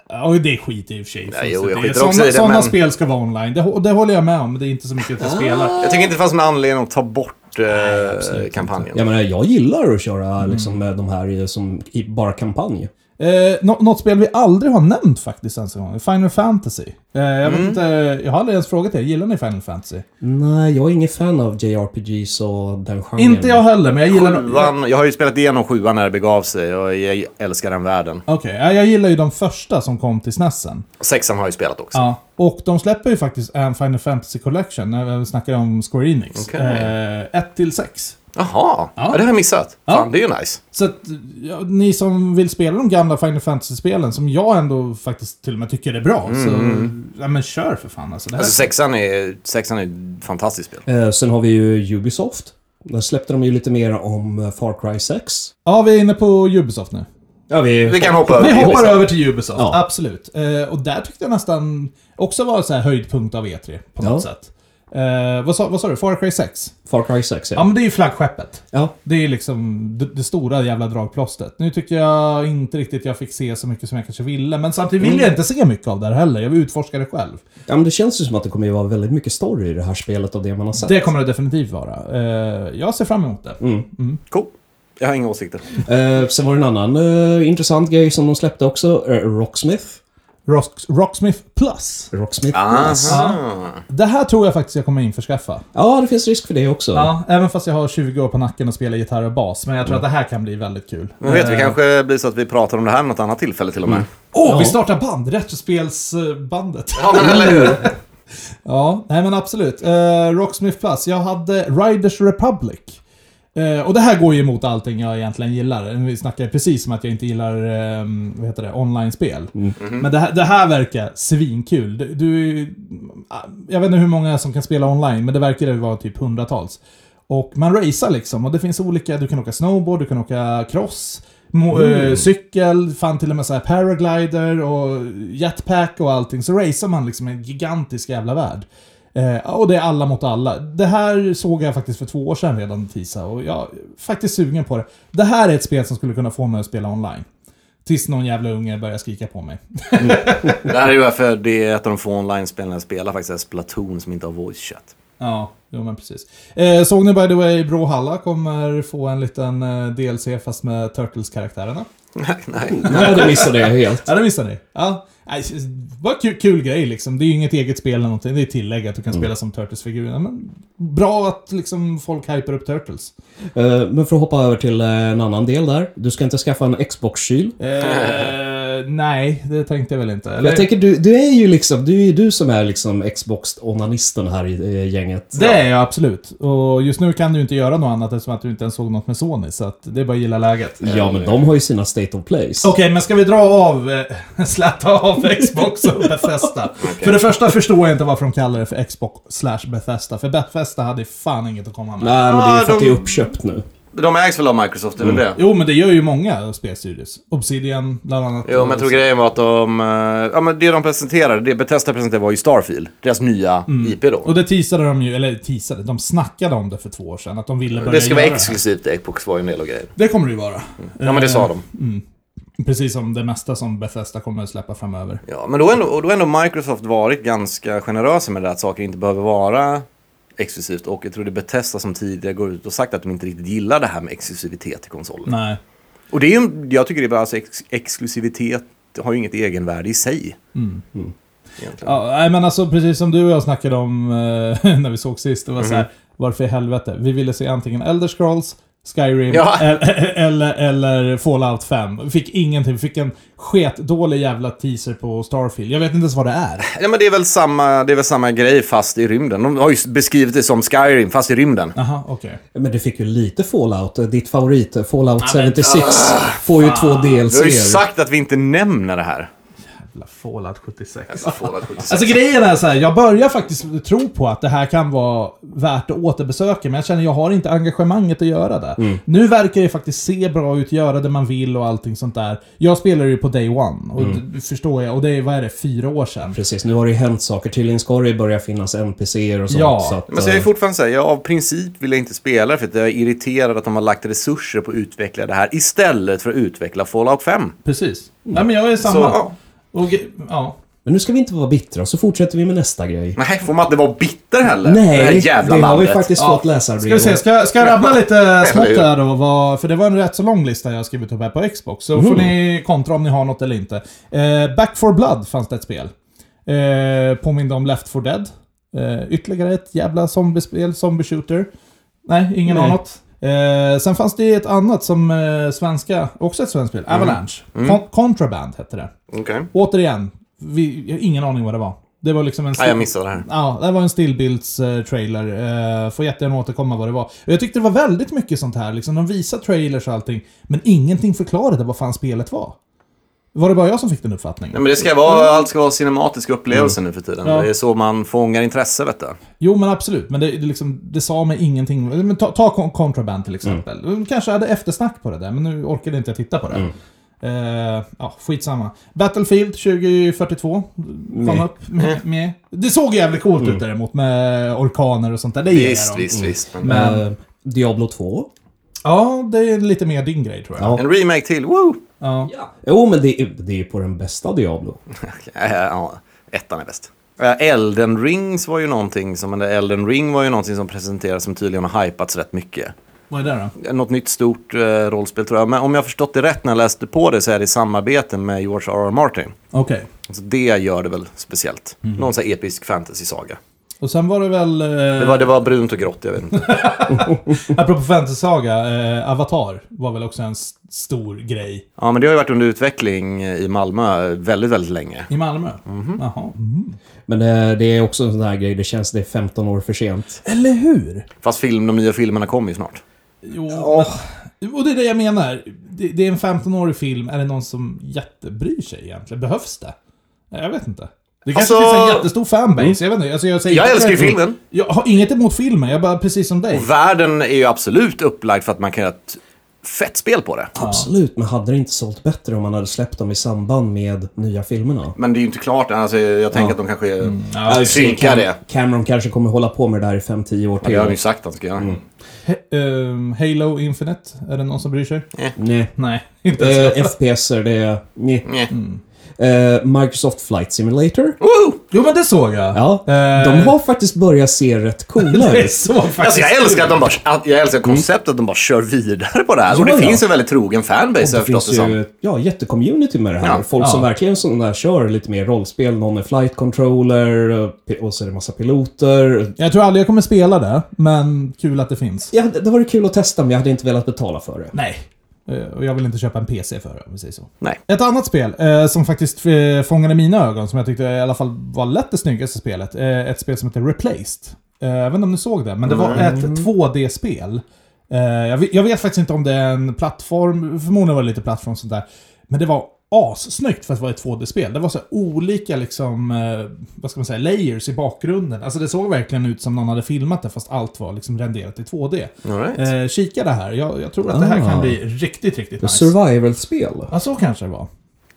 Ja, och det är skit i och för sig. Nej, jo, jag Det är- skiter också i det, sådana men- spel ska vara online, det, hå- det håller jag med om. Det är inte så mycket att jag spelar. Jag tycker inte det fanns någon anledning att ta bort eh, inte. kampanjen. Jag menar, jag gillar att köra liksom med de här i- som i bara kampanj. Eh, nå- något spel vi aldrig har nämnt faktiskt ens en gång, Final Fantasy. Eh, jag, Mm. vet inte, jag har aldrig ens frågat er, gillar ni Final Fantasy? Nej, jag är ingen fan av JRPGs och den genren. Inte jag heller, men jag gillar... Sjuan, jag har ju spelat igenom sjuan när det begav sig och jag älskar den världen. Okej, ja, jag gillar ju de första som kom till E SNESen. Sexan har jag ju spelat också. Ja. Och de släpper ju faktiskt en Final Fantasy Collection, när vi snackar om Square Enix. Eh, Okej. 1-6. Jaha, ja. det har jag missat. Fan, det är ju nice. Så att, ja, ni som vill spela de gamla Final Fantasy-spelen, som jag ändå faktiskt till och med tycker är bra, så... Ja, men kör för fan alltså. Det här Mm, Alltså, sexan är, sexan är ett fantastiskt spel. Eh, sen har vi ju Ubisoft. Där släppte de ju lite mer om eh, Far Cry 6. Ja, vi är inne på Ubisoft nu. Ja, Vi kan hoppa Vi över hoppar Ubisoft. över till Ubisoft, Ja. absolut. Eh, och där tyckte jag nästan också var så här höjdpunkt av E3, på något Ja. sätt. Eh, vad, sa, vad sa du? Far Cry 6? Far Cry 6, Ja, ja. men det är ju flaggskeppet. ja. Det är liksom det, det stora jävla dragplåstret. Nu tycker jag inte riktigt jag fick se så mycket som jag kanske ville, men samtidigt vill jag inte se mycket av det här heller. Jag vill utforska det själv. Ja, men det känns ju som att det kommer ju vara väldigt mycket story i det här spelet av det man har sett. Det kommer det definitivt vara. Eh, jag ser fram emot det. Cool. Jag har inga åsikter. Eh, sen var det en annan eh, intressant grej som de släppte också. Eh, Rocksmith. Rock, Rocksmith Plus. Rocksmith Aha. Plus. Det här tror jag faktiskt jag kommer införskaffa. Ja, det finns risk för det också. Ja, även fast jag har 20 år på nacken och spelar gitarr och bas. Men jag tror att det här kan bli väldigt kul. Men vet, vi kanske blir så att vi pratar om det här vid något annat tillfälle till och med. Åh, Ja. vi startar band! Retrospelsbandet. Ja, men eller hur? Ja, nej men absolut. Eh, Rocksmith Plus. Jag hade Riders Republic. Eh, och det här går ju emot allting jag egentligen gillar. Vi snackar precis som att jag inte gillar eh, vad heter det, online-spel. Men det här, det här verkar svinkul. Du, du, jag vet inte hur många som kan spela online, men det verkar ju vara typ hundratals. Och man racear liksom, och det finns olika, du kan åka snowboard, du kan åka cross, mo- eh, cykel, fan till och med så här paraglider och jetpack och allting. Så racear man liksom i en gigantisk jävla värld. Eh, och det är alla mot alla. Det här såg jag faktiskt för två år sedan redan, Tisa, och jag är faktiskt sugen på det. Det här är ett spel som skulle kunna få mig att spela online. Tills någon jävla unge börjar skrika på mig. Det här är ju varför det är ett av de få online-spelen jag spelar faktiskt, är Splatoon som inte har voice chat. Ja, jo men precis. Eh, såg ni by the way, Bråhalla kommer få en liten eh, DLC fast med Turtles-karaktärerna. Nej, nej. Nej, det missade jag helt. Ja, det missade ni. Ja. Nej, Vad kul, kul grej liksom. Det är ju inget eget spel eller någonting. Det är tillägg att du kan Mm. spela som Turtles-figurerna. Men bra att liksom folk hyper upp Turtles. Eh, men för att hoppa över till eh, en annan del där. Du ska inte skaffa en Xbox-kyl. Eh, nej, det tänkte jag väl inte. Eller? Jag tänker, du, du är ju liksom, du är ju du som är liksom Xbox-onanisten här i eh, gänget. Det är jag absolut. Och just nu kan du inte göra något annat eftersom att du inte ens såg något med Sony. Så att det är bara att gilla läget. Eh, Eh, Ja, men de har ju sina State of Plays. Okej, men ska vi dra av, eh, släta av Xbox och Bethesda? För det första förstår jag inte varför de kallar det för Xbox slash Bethesda. För Bethesda hade fan inget att komma med. Nej, men det är ju för att Ah, det de- är uppköpt nu. De ägs väl av Microsoft, det är väl det? Jo, men det gör ju många spelstudios. Obsidian, bland annat. Jo, men jag tror grejen var att de... eh, Ja, men det de presenterade, det Bethesda presenterade var ju Starfield. Deras nya IP Och då. det teasade de ju, eller teasade, de snackade om det för två år sedan. Att de ville börja Det ska vara göra här. exklusivt till Xbox var ju en del av grejen. Det kommer det ju vara. Eh, Ja, men det sa de. Precis som det mesta som Bethesda kommer att släppa framöver. Ja, men då ändå, och då har ändå Microsoft varit ganska generösa med det där att saker inte behöver vara exklusivt. Och jag tror det är Bethesda som tidigare går ut och sagt att de inte riktigt gillar det här med exklusivitet i konsoler. Nej. Och det är ju, jag tycker det är bara, alltså ex exklusivitet har ju inget egenvärde i sig. Egentligen. Ja, nej, men alltså precis som du och jag snackade Mm-hmm. om eh, när vi såg sist. Det var så här, varför i helvete? Vi ville se antingen Elder Scrolls, Skyrim Ja. eller, eller, eller Fallout 5. Vi Fick ingenting. Vi Fick en sketdålig jävla teaser på Starfield. Jag vet inte ens vad det är. Ja, men det, är väl samma, det är väl samma grej fast i rymden. De har ju beskrivit det som Skyrim fast i rymden. Jaha, okej. Men det fick ju lite Fallout. Eh, Ditt favorit, Fallout 76, får ju två Vi ah, har ju DLC. sagt att vi inte nämner det här. Jävla Fallout 76. Alltså, Alltså grejen är så här, jag börjar faktiskt tro på att det här kan vara värt att återbesöka, men jag känner jag har inte engagemanget att göra det. Nu verkar det faktiskt se bra ut, göra det man vill och allting sånt där. Jag spelar ju på day one, och det förstår jag, och det är, vad är det, fyra år sedan? Precis, nu har det ju hänt saker. Tydligen ska det ju börja finnas NPCer och sånt. Ja, så att, men så jag är eh, fortfarande säga, jag av princip vill jag inte spela det för att jag är irriterad att de har lagt resurser på att utveckla det här istället för att utveckla Fallout 5. Precis. Nej men jag är samma. Så, ja. Och, ge- ja. men nu ska vi inte vara bittra, så fortsätter vi med nästa grej. Nej, får man inte vara bitter heller? det här Nej, det jävla har vi landet. faktiskt Ja. fått läsarbrev. Ska vi se, ska, ska jag rabbla lite smått här då? Vad, för det var en rätt så lång lista jag skrivit upp här på Xbox. Så får ni kontra om ni har något eller inte. Eh, Back for Blood fanns det ett spel. Eh, påminde om Left for Dead. Eh, ytterligare ett jävla zombiespel, Zombie Shooter. Nej, ingen Nej. har något. Eh, sen fanns det ett annat som eh, svenska, också ett svenskt spel, Avalanche. Mm. Con- Contraband hette det. Okej. Återigen, vi, jag har ingen aning vad det var. Det var liksom en... Nej, jag missade det här. Ja, det var en stillbilds-trailer. Eh, får jättegärna återkomma vad det var. Och Jag tyckte det var väldigt mycket sånt här. Liksom, de visar trailers och allting, men ingenting förklarade vad fan spelet var. Var det bara jag som fick den uppfattningen? Nej, men det ska Mm. vara, allt ska vara cinematiska upplevelser nu för tiden. Ja. Det är så man fångar intresse, vet du. Jo, men absolut. Men det, det, liksom, det sa mig ingenting. Men ta, ta Con- Contraband till Mm. exempel. De Kanske hade eftersnack på det där, men nu orkade inte jag titta på det. Mm. Eh, ja, skitsamma. Battlefield 2042 kom upp. Med, med. Det såg jävligt coolt ut däremot med orkaner och sånt där. Det gillar jag. Mm. Visst, visst, visst. Men... Men... Eh, Diablo 2? Ja, det är lite mer din grej tror jag. Ja. En remake till, woo! Ja. Ja. Jo, men det är, det är på den bästa Diablo. Äh, Ja, ettan är bäst. Äh, Elden Rings var ju någonting som, eller Elden Ring var ju någonting som presenterades som tydligen har hypats rätt mycket. Vad är det då? Något nytt stort eh, rollspel tror jag. Men om jag har förstått det rätt när jag läste på det så är det i samarbete med George R.R. Martin. Okej. Så det gör det väl speciellt. Någon sån här episk fantasy-saga. Och sen var det väl, eh, Det var, det var brunt och grått, jag vet inte. apropå fantasy-saga, eh, Avatar var väl också en s- stor grej Ja, men det har ju varit under utveckling i Malmö väldigt, väldigt länge. i Malmö. Mhm. Jaha. Mm. Men eh, det är också en sån här grej, det känns det är 15 år för sent. Eller hur? Fast film, de nya filmerna kommer ju snart. Jo, men, och det är det jag menar. Det, det är en 15-årig film, är det någon som jättebryr sig egentligen? Behövs det? Nej, Jag vet inte. Det kanske Alltså- Mm. finns en jättestor fanbase, jag vet inte. Alltså, jag, säger Jag inte- älskar ju filmen. Jag har inget emot filmen, jag bara precis som dig. Och världen är ju absolut upplagd för att man kan göra ett fett spel på det. Absolut, men hade det inte sålt bättre om man hade släppt dem i samband med nya filmerna? Men det är ju inte klart än. Alltså, jag tänker att de kanske Mm. Ja, synkar det. Cameron kanske kommer hålla på med det här i 5-10 år Det har han till. ju sagt alltså, att han ska göra. He- ehm, Mm. Halo Infinite, är det någon som bryr sig? Nej. Nej, inte ens jag. Eh, FPS är det... Nej. Nej. Eh, Microsoft Flight Simulator? Woo! Jo, men det såg jag. Ja. Eh, De har faktiskt börjat se rätt coola Det ut. såg faktiskt... Alltså, jag älskar att de bara, att- jag älskar konceptet att de bara kör vidare på det här. Ja, och det Mm. ja. finns en väldigt trogen fanbase har jag Det förstått det finns som. ju ja, jättecommunity med det här. Ja. Folk som Ja. verkligen sådana där kör lite mer rollspel. Någon är flight controller eh, och så är det massa piloter. Jag tror aldrig jag kommer spela det, men kul att det finns. Ja, det det var kul att testa men jag hade inte velat betala för det. Nej. Eh, Och jag vill inte köpa en PC för det, om vi säger så. Nej. Ett annat spel eh, som faktiskt eh, fångade mina ögon, som jag tyckte i alla fall var lätt det snyggaste spelet. Eh, ett spel som heter Replaced. Eh, jag vet inte om ni såg det, men det var ett 2D-spel. Eh, jag, vet, jag vet faktiskt inte om det är en plattform, förmodligen var det lite plattform och sånt där. Men det var assnyggt för att vara ett 2D-spel. Det var så här olika liksom, eh, vad ska man säga, layers i bakgrunden. Alltså det såg verkligen ut som någon hade filmat det fast allt var liksom renderat i 2D. All right. Eh, kika det här. Jag, jag tror att det här Ah. kan bli riktigt, riktigt nice. Survival-spel. Ja, så kanske det var.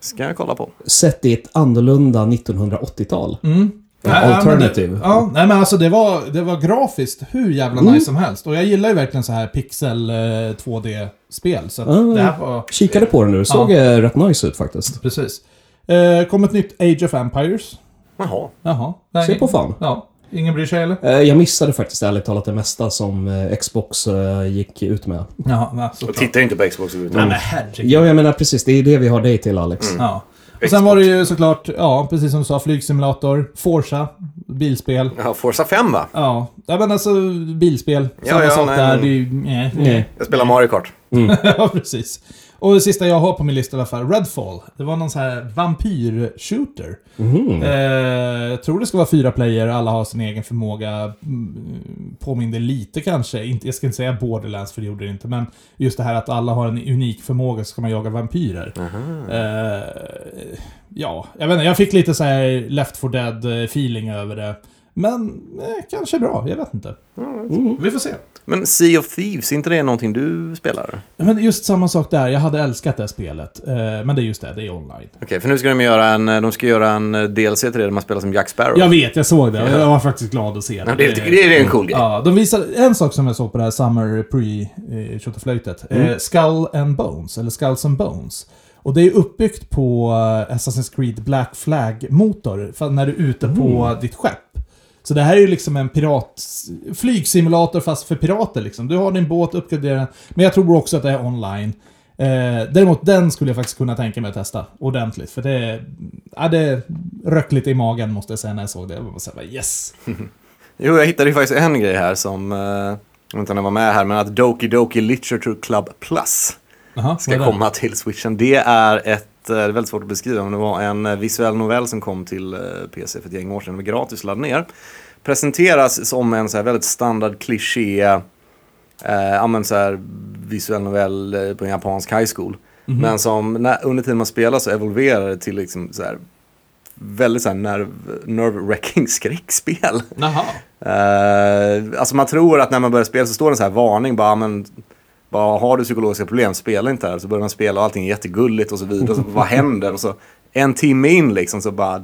Ska jag kolla på. Sett i ett annorlunda 1980-tal. Mm. Ja, Nej, alternative. Mm. Men, ja, nej men alltså det var, det var grafiskt hur jävla nice som helst. Och jag gillar ju verkligen så här pixel eh, 2D-spel. Så att Ah. det här var... Kikade på det nu. Såg eh, rätt nice ut faktiskt. Precis. Eh, kom ett nytt Age of Empires. Jaha. Jaha. Nej, Se på fan. Ja. Ingen bryr sig eller? Eh, Jag missade faktiskt ärligt talat det mesta som eh, Xbox eh, gick ut med. Jaha, nej, såklart. Jag tittar ju inte på Xbox Mm. Nej men överhuvudtaget. herregud. Ja, jag menar precis. Det är det vi har dig till Alex. Ja. Och sen var det ju såklart, ja, precis som du sa, flygsimulator, Forza, bilspel. Ja, Forza 5 va? Ja, ja men alltså bilspel. Ja, Samma ja, sak nej, där. men- Det är ju, nej, nej. Nej. Jag spelar Mm. Mario Kart. ja, precis. Och det sista jag har på min lista i alla fall, Redfall. Det var någon sån här vampyr-shooter. Eh, jag tror det ska vara fyra player, alla har sin egen förmåga. Mm, Påminner lite kanske, inte, jag ska inte säga borderlands för det gjorde det inte, men just det här att alla har en unik förmåga så ska man jaga vampyrer. Eh, ja, jag vet inte, jag fick lite så här left 4 dead-feeling över det. Men eh, kanske bra, jag vet inte. Vi får se. Men Sea of Thieves, är inte det någonting du spelar? Okej, Ja, Men just samma sak där. Jag hade älskat det här spelet. Eh, Men det är just det, det är online. för nu ska de göra en, de ska göra en eh, DLC till det där man spelar som Jack Sparrow. Jag vet, jag såg det och jag var faktiskt glad att se det. Ja, det, är lite, det är en cool grej. Ja, de visade en sak som jag såg på det här Summer Pre-tjottaflöjtet. Mm. Eh, Skull and Bones, eller Skulls and Bones. Och det är uppbyggt på eh, Assassin's Creed Black Flag-motor, för när du är ute på Mm. ditt skepp. Så det här är ju liksom en pirat... Flygsimulator fast för pirater liksom. Du har din båt, uppgraderar den. Men jag tror också att det är online. Eh, däremot den skulle jag faktiskt kunna tänka mig att testa ordentligt. För det... Ja, det röck lite i magen måste jag säga när jag såg det. Jag var bara såhär, yes! Jo, jag hittade ju faktiskt en grej här som, eh, jag vet inte om den var med här, men att Doki Doki Literature Club Plus Aha, ska vad är det? komma till Switchen. Det är ett, eh, det är väldigt svårt att beskriva, men det var en eh, visuell novell som kom till eh, PC för ett gäng år sedan. Den var gratis att ladda ner. Presenteras som en så här väldigt standard kliché, eh, ja, men så här visuell novell eh, på en japansk high school. Mhm. Men som när, under tiden man spelar så evolverar det till liksom så här, väldigt så här nerv, nerve-wracking skräckspel. Jaha. Eh, alltså man tror att när man börjar spela så står det en så här varning bara, "Ah, men bara har du psykologiska problem, spela inte här. Så börjar man spela och allting är jättegulligt och så vidare. Så vad händer? Och så en timme in liksom så bara,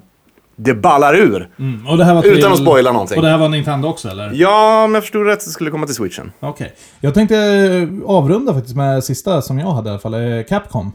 det ballar ur. Mm, och det här var Utan att spoila någonting. Och det här var Nintendo också eller? Ja, om jag förstod rätt så skulle det komma till switchen. Okej. Jag tänkte eh, avrunda faktiskt med sista som jag hade i alla fall, eh, Capcom.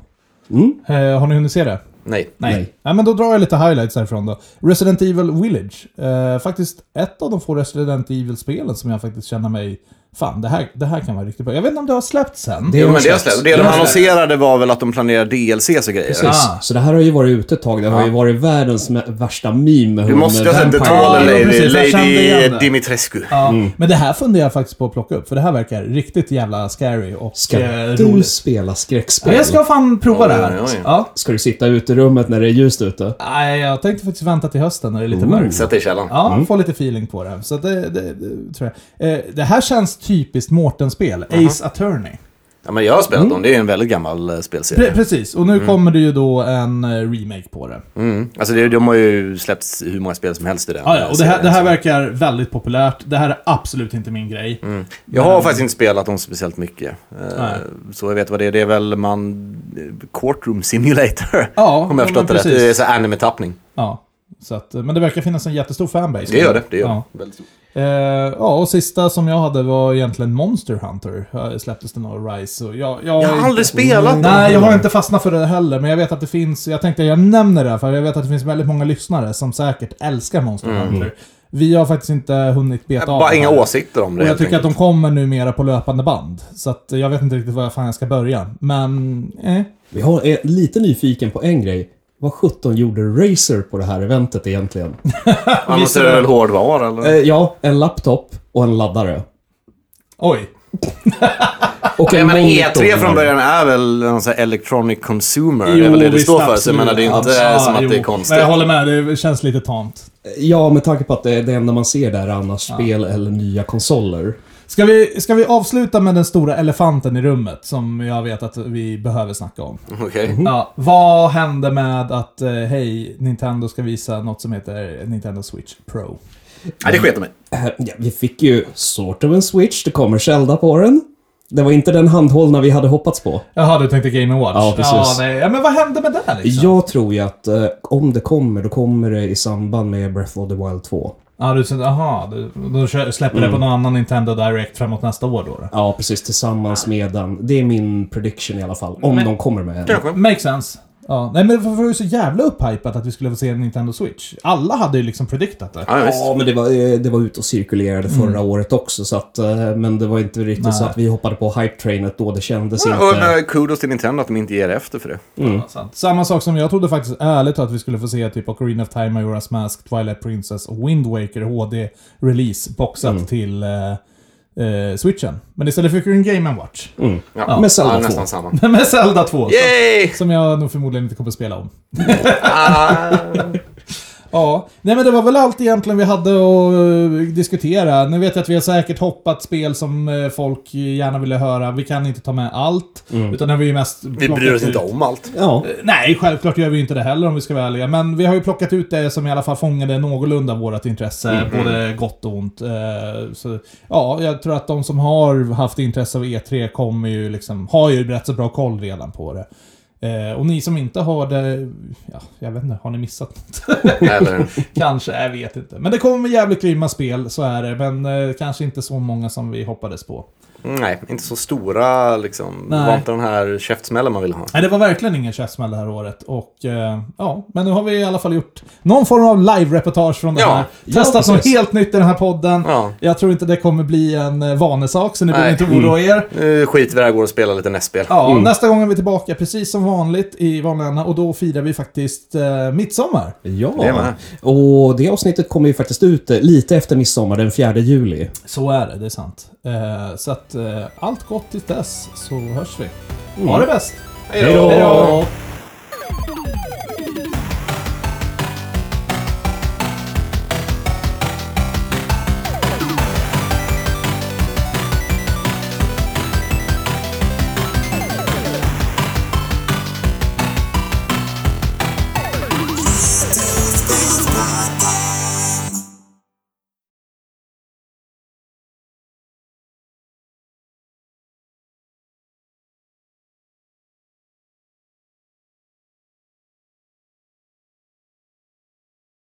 Mm. Eh, har ni hunnit se det? Nej. Nej. Nej, men då drar jag lite highlights härifrån då. Resident Evil Village. Eh, faktiskt ett av de få Resident Evil-spelen som jag faktiskt känner mig... Fan, det här, det här kan vara riktigt bra. Jag vet inte om det har släppts än. Jo, har men det, har släppts. släppts. det de har släppts. annonserade var väl att de planerar DLCs och grejer. Precis. Ah. Så det här har ju varit ute ett tag. Det har ju varit världens me- värsta meme. med Du hon- måste ha sett Vampire. detaljen, Ja, Lady, precis. Jag kände lady igen det. Dimitrescu. Ja, Men det här funderar jag faktiskt på att plocka upp, för det här verkar riktigt jävla scary och Ska eh, du roligt. spela Ja, skräckspel? jag ska fan prova det Oj, här. oj, oj. Ja. Ska du sitta ute i rummet när det är ljust ute? Nej, jag tänkte faktiskt vänta till hösten när det är lite Ooh. mörkt. Sätt dig i källaren. Ja, få lite feeling på det. Så det, det, det tror jag. Eh, det här känns typiskt Mårten-spel. Ace Attorney. Ja, men jag har spelat dem. Det är en väldigt gammal eh, spelserie. Pre- precis, och nu kommer det ju då en eh, remake på det. Mm. Alltså det, de har ju släppts hur många spel som helst i den Ja, ja, och det här, serien, det här så. verkar väldigt populärt. Det här är absolut inte min grej. Mm. Jag har faktiskt inte spelat dem speciellt mycket. Eh, Nej. Så jag vet vad det är. Det är väl man... eh, Courtroom Simulator. Ja, Om jag ja, men förstått det rätt. precis. Det är så här anime-tappning. Ja. Så att, eh, men det verkar finnas en jättestor fanbase. Det gör det. det, gör ja. det. Väldigt stort. Eh, ja, och sista som jag hade var egentligen Monster Hunter. Eh, Släpptes den av Rise. Och jag, jag, Jag har aldrig spelat dem. Nej, jag har inte fastnat för det heller, men jag vet att det finns, jag tänkte jag nämner det här, för jag vet att det finns väldigt många lyssnare som säkert älskar Monster Hunter. Vi har faktiskt inte hunnit beta av Mm. Bara det inga här. åsikter om det Och jag helt tycker att de enkelt. kommer numera på löpande band. Så att jag vet inte riktigt var fan jag ska börja. Men, eh. Vi har, är lite nyfiken på en grej. Vad 17 gjorde Razer på det här eventet egentligen? Annars är det väl hårdvara eller? Eh, ja, en laptop och en laddare. Oj. Och Nej, en men monitor. E3 från början är väl någon sån här electronic consumer. det är Jo, väl det det visst, står för. Så jag absolut. menar, det är inte Absolut. som att Ja, det är jo. konstigt. Men jag håller med, det känns lite tamt. Ja, med tanke på att det, det enda man ser där är annars spel eller nya konsoler. Ska vi, ska vi avsluta med den stora elefanten i rummet som jag vet att vi behöver snacka om? Okej. Mm. Ja, vad hände med att, eh, hej, Nintendo ska visa något som heter Nintendo Switch Pro? Nej, det sket mig. Eh, Ja, vi fick ju sort of en Switch. Det kommer Zelda på den. Det var inte den handhållna vi hade hoppats på. Jaha, du tänkte Game Watch? Ja, precis. Ja, nej. ja, men vad hände med det liksom? Jag tror ju att eh, om det kommer, då kommer det i samband med Breath of the Wild 2. Ja, du tänkte, aha, du, då kö- släpper det på Mm. någon annan Nintendo Direct framåt nästa år då? då. Ja, precis. Tillsammans med den. Det är min prediction i alla fall. Om Men- de kommer med den. Kanske. Makes sense. Ja, nej men det var ju så jävla upphypat att vi skulle få se en Nintendo Switch. Alla hade ju liksom prediktat det. Ja, ja, visst. Mm. Ja, men det var, eh, det var ute och cirkulerade förra året också, så att, eh, men det var inte riktigt Nej. så att vi hoppade på hype-trainet då. Det kändes Och inte... eh, kudos till Nintendo att de inte ger efter för det. Ja, sant. Samma sak som jag trodde faktiskt ärligt att vi skulle få se typ Ocarina of Time, Majora's Mask, Twilight Princess och Wind Waker HD-release boxat Mm. till eh, eh, Switchen. Men istället fick vi en Game Watch. Ja, men Zelda ja, två. nästan samma. Med Zelda 2. som- Mm. Yay! Som jag nog förmodligen inte kommer att spela om. Ah, Ja, nej men det var väl allt egentligen vi hade att eh, diskutera. Nu vet jag att vi har säkert hoppat spel som eh, folk gärna ville höra. Vi kan inte ta med allt. Utan det har vi ju mest... Mm. vi bryr oss inte om allt. Ja. Nej, självklart gör vi inte det heller om vi ska vara ärliga. Men vi har ju plockat ut det som i alla fall fångade någorlunda vårt intresse. Både gott och ont. Eh, Så, ja, jag tror att de som har haft intresse av E3 kommer ju liksom, har ju rätt så bra koll redan på det. Eh, Och ni som inte har det, ja, jag vet inte, har ni missat något? Eller, kanske, jag vet inte. Men det kommer jävligt grymma spel, så är det. Men eh, kanske inte så många som vi hoppades på. nej, inte så stora liksom. Det Nej. var inte den här käftsmällen man ville ha. Nej, det var verkligen ingen käftsmäll det här året. Och eh, ja, men nu har vi i alla fall gjort någon form av live-reportage från det Ja, här. ja, Testat som precis. helt nytt i den här podden. Ja. Jag tror inte det kommer bli en eh, vanesak, så ni behöver Nej. Mm. inte oroa er. Nu skiter vi i det här och går och spelar lite nästspel. Ja, Nästa gång är vi tillbaka precis som vanligt i vanliga och då firar vi faktiskt eh, midsommar. Det är med. Ja, och det avsnittet kommer ju faktiskt ut eh, lite efter midsommar, den 4 juli. Så är det, det är sant. Eh, så Mm. att eh, allt gott till dess, så hörs vi. Ha det bäst! Hej då! Hej då!